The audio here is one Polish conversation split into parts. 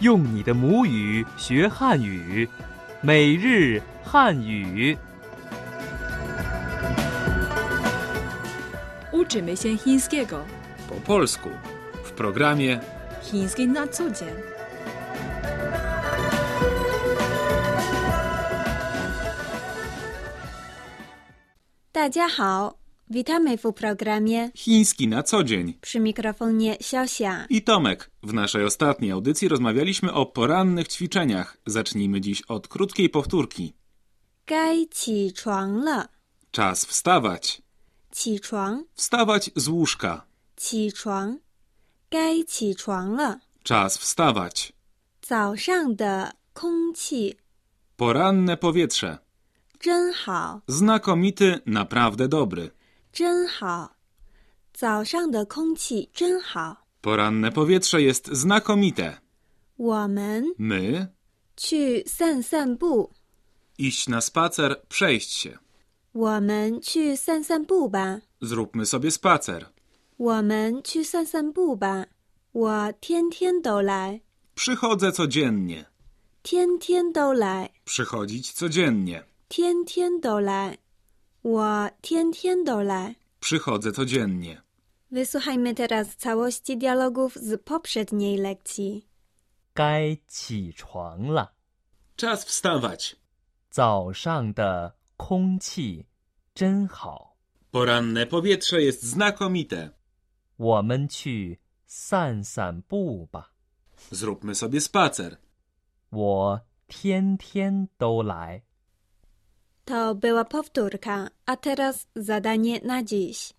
用你的母语学汉语，每日汉语。 Uczymy się chińskiego. po polsku w programie Chiński na co dzień. Dacia hao. Witamy w programie. Chiński na co dzień. Przy mikrofonie Xiaoxia. I Tomek, w naszej ostatniej audycji rozmawialiśmy o porannych ćwiczeniach. Zacznijmy dziś od krótkiej powtórki. 该起床了， Czas wstawać. 起床， Wstawać z łóżka. 起床，该起床了。 Czas wstawać. 早上的空气 Poranne powietrze. 真好， Znakomity, naprawdę dobry. 真好。早上的空气真好。 Poranne powietrze jest znakomite. 我们 My 去散散步， iść na spacer, przejść się. 我们去散散步吧。 Zróbmy sobie spacer. 我们去散散步吧。我天天都来， Przychodzę codziennie. 天天都来。 Przychodzić codziennie. 天天都来，我天天都来。 Przychodzę codziennie. Wysłuchajmy teraz całości dialogów z poprzedniej lekcji. 该起床了， Czas wstawać. 早上的空气真好。 Poranne powietrze jest znakomite. 我们去散散步吧， Zróbmy sobie spacer. 我天天都来。 To była powtórka, a teraz zadanie na dziś.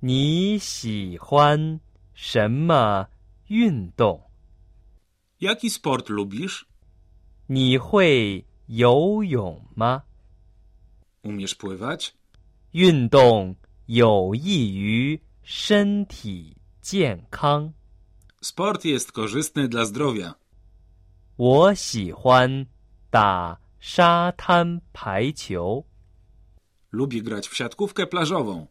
你喜欢什么运动？ Jaki sport lubisz? 你会游泳吗？ Umiesz pływać? 运动有益于身体健康。 Sport jest korzystny dla zdrowia. 我喜欢打沙滩排球。 Lubię grać w siatkówkę plażową.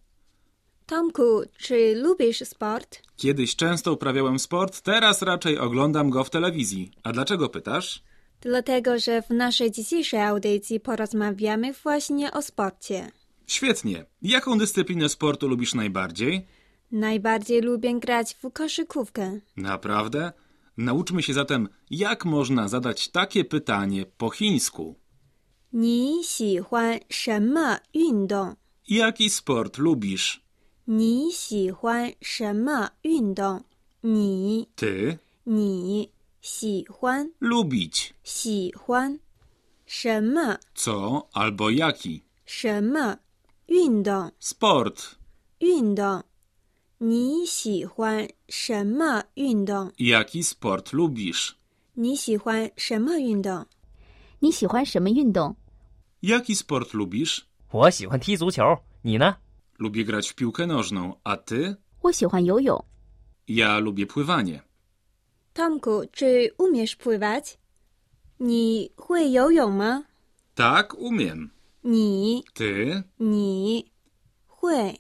Tomku, czy lubisz sport? Kiedyś często uprawiałem sport, teraz raczej oglądam go w telewizji. A dlaczego pytasz? Dlatego, że w naszej dzisiejszej audycji porozmawiamy właśnie o sporcie. Świetnie. Jaką dyscyplinę sportu lubisz najbardziej? Najbardziej lubię grać w koszykówkę. Naprawdę? Nauczmy się zatem, jak można zadać takie pytanie po chińsku. 你喜欢什么运动？ Jaki sport lubisz? 你喜欢什么运动？你 Ty 你喜欢 lubić. 喜欢什么 Co albo jaki? 什么运动 Sport. 运动？你喜欢什么运动？ Jaki sport lubisz? 你喜欢什么运动？你喜欢什么运动？ Jaki sport lubisz? 我喜欢踢足球，你呢？ Lubię grać w piłkę nożną, a ty? 我喜欢游泳。 Ja lubię pływanie. Tomku, czy umiesz pływać？你会游泳吗？ Tak, umiem. 你 Ty? 你会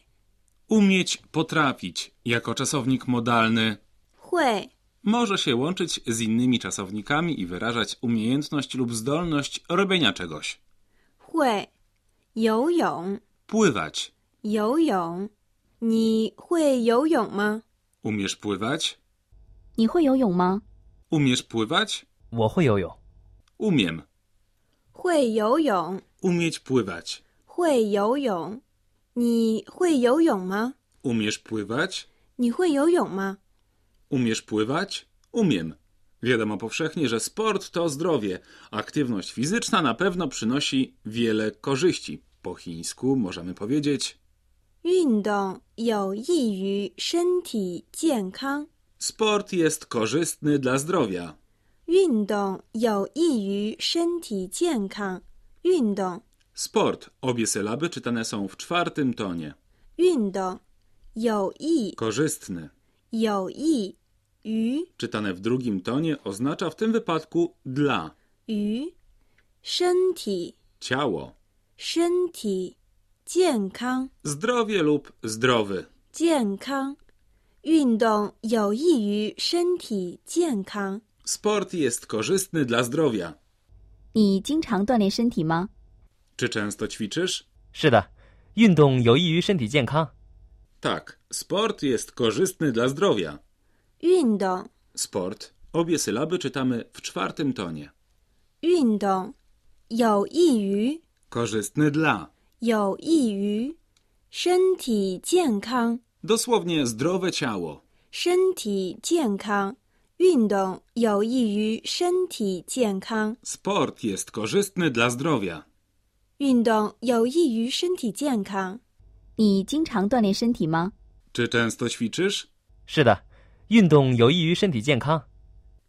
Umieć potrafić jako czasownik modalny 会 może się łączyć z innymi czasownikami i wyrażać umiejętność lub zdolność robienia czegoś. 会游泳 Pływać. 游泳？你会游泳吗？ Umiesz pływać? 你会游泳吗？ Umiesz pływać? 我会游泳， Umiem. 会游泳， Umieć pływać. 会游泳。你会游泳吗？ Umiesz pływać? 你会游泳吗？ Umiesz pływać? Umiem. Wiadomo powszechnie, że sport to zdrowie. Aktywność fizyczna na pewno przynosi wiele korzyści. Po chińsku możemy powiedzieć: 运动有益于身体健康。 Sport jest korzystny dla zdrowia. 运动有益于身体健康。运动， Sport. Obie sylaby czytane są w czwartym tonie. 运动有益 Korzystny. 有益于 Czytane w drugim tonie oznacza w tym wypadku dla 于身体 ciało, 身体健康 zdrowie lub zdrowy. 健康。运动有益于身体健康。 Sport jest korzystny dla zdrowia. 你经常锻炼身体吗？ Czy często ćwiczysz? 是的，运动有益于身体健康。 Tak, sport jest korzystny dla zdrowia. 运动， Sport. Obie sylaby czytamy w czwartym tonie. 运动，有益于， Korzystny dla. 有益于身体健康， Dosłownie zdrowe ciało. 身体健康，运动有益于身体健康， Sport jest korzystny dla zdrowia. 运动有益于身体健康。你经常锻炼身体吗？ Czy często ćwiczysz? 是的，运动有益于身体健康。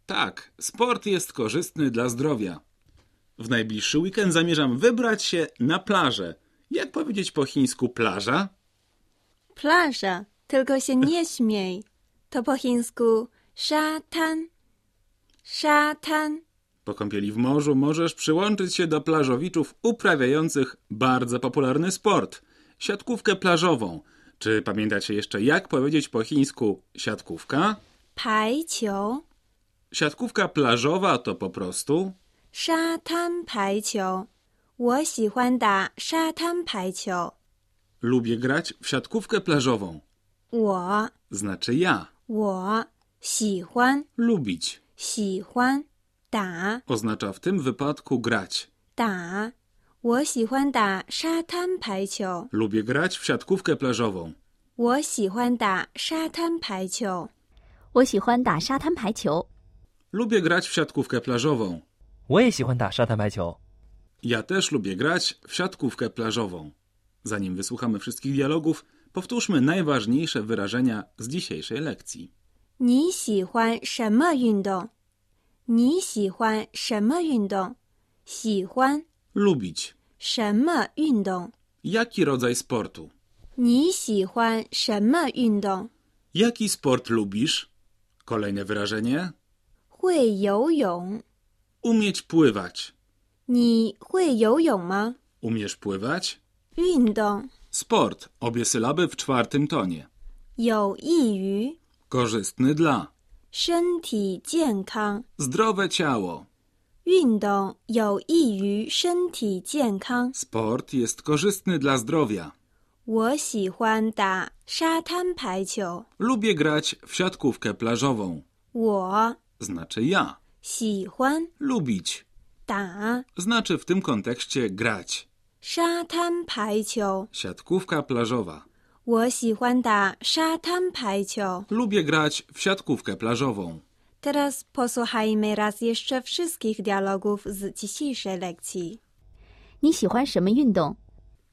Tak, sport jest korzystny dla zdrowia. W najbliższy weekend zamierzam wybrać się na plażę. Jak powiedzieć po chińsku plaża? Plaża, tylko się nie śmiej. To po chińsku szatan. Szatan. Po kąpieli w morzu możesz przyłączyć się do plażowiczów uprawiających bardzo popularny sport siatkówkę plażową. Czy pamiętacie jeszcze, jak powiedzieć po chińsku siatkówka? 排球， Siatkówka plażowa to po prostu 沙滩排球。我喜欢打沙滩排球。 lubię grać w siatkówkę plażową. 我 Znaczy ja 我喜欢 lubić 喜欢打 oznacza w tym wypadku grać. 打，我喜欢打沙滩排球。 Lubię grać w siatkówkę plażową. 我喜欢打沙滩排球。我喜欢打沙滩排球， Lubię grać w siatkówkę plażową. 我也喜欢打沙滩排球。 Ja też lubię grać w siatkówkę plażową. Zanim wysłuchamy wszystkich dialogów, powtórzmy najważniejsze wyrażenia z dzisiejszej lekcji. 你喜欢什么运动？你喜欢什么运动？喜欢 Lubić. 什么运动？ Jaki rodzaj sportu? 你喜欢什么运动？ Jaki sport lubisz? Kolejne wyrażenie. 会游泳？ Umieć pływać. 你会游泳吗？ Umiesz pływać? 运动 Sport. Obie sylaby w czwartym tonie. 有益于 Korzystny dla. 身体健康， Zdrowe ciało. 运动有益于身体健康。 Sport jest korzystny dla zdrowia. 我喜欢打沙滩排球， Lubię grać w siatkówkę plażową. 我 Znaczy ja. 喜欢 Lubić. 打 Znaczy w tym kontekście grać. 沙滩排球。 Siatkówka plażowa. 我喜欢打沙滩排球。 Lubię grać w siatkówkę plażową. Teraz posłuchajmy raz jeszcze wszystkich dialogów z dzisiejszej lekcji. 你喜欢什么运动？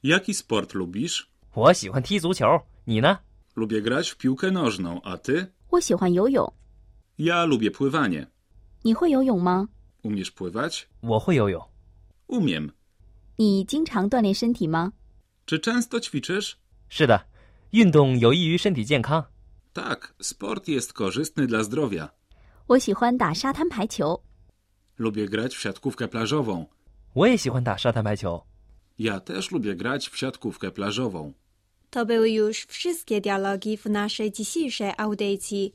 Jaki sport lubisz? 我喜欢踢足球，你呢？ Lubię grać w piłkę nożną, a ty? 我喜欢游泳。 Ja lubię pływanie. 你会游泳吗？ Umiesz pływać? 我会游泳。 Umiem. 你经常锻炼身体吗？ Czy często ćwiczysz? 是的，运动有益于身体健康。 Tak, sport jest korzystny dla zdrowia. 我喜欢打沙滩排球。 Lubię grać w siatkówkę plażową. 我也喜欢打沙滩排球。 Ja też lubię grać w siatkówkę plażową. To były już wszystkie dialogi w naszej dzisiejszej audycji.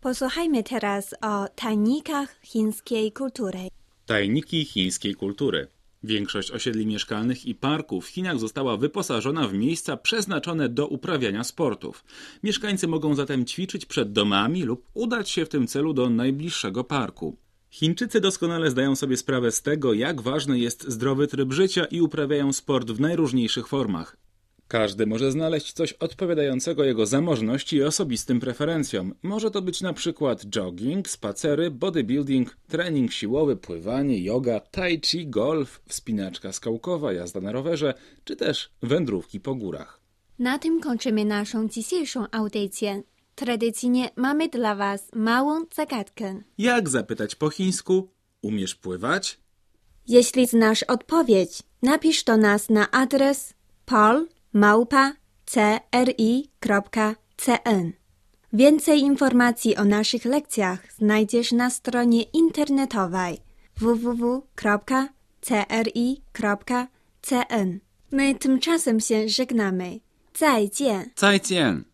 Posłuchajmy teraz o tajnikach chińskiej kultury. Tajniki chińskiej kultury. Większość osiedli mieszkalnych i parków w Chinach została wyposażona w miejsca przeznaczone do uprawiania sportów. Mieszkańcy mogą zatem ćwiczyć przed domami lub udać się w tym celu do najbliższego parku. Chińczycy doskonale zdają sobie sprawę z tego, jak ważny jest zdrowy tryb życia i uprawiają sport w najróżniejszych formach. Każdy może znaleźć coś odpowiadającego jego zamożności i osobistym preferencjom. Może to być na przykład jogging, spacery, bodybuilding, trening siłowy, pływanie, yoga, tai chi, golf, wspinaczka skałkowa, jazda na rowerze, czy też wędrówki po górach. Na tym kończymy naszą dzisiejszą audycję. Tradycyjnie mamy dla Was małą zagadkę. Jak zapytać po chińsku? Umiesz pływać? Jeśli znasz odpowiedź, napisz do nas na adres polmałpa.cri.cn. Więcej informacji o naszych lekcjach znajdziesz na stronie internetowej No www.cri.cn. My tymczasem się żegnamy. 再见。 Zaijian!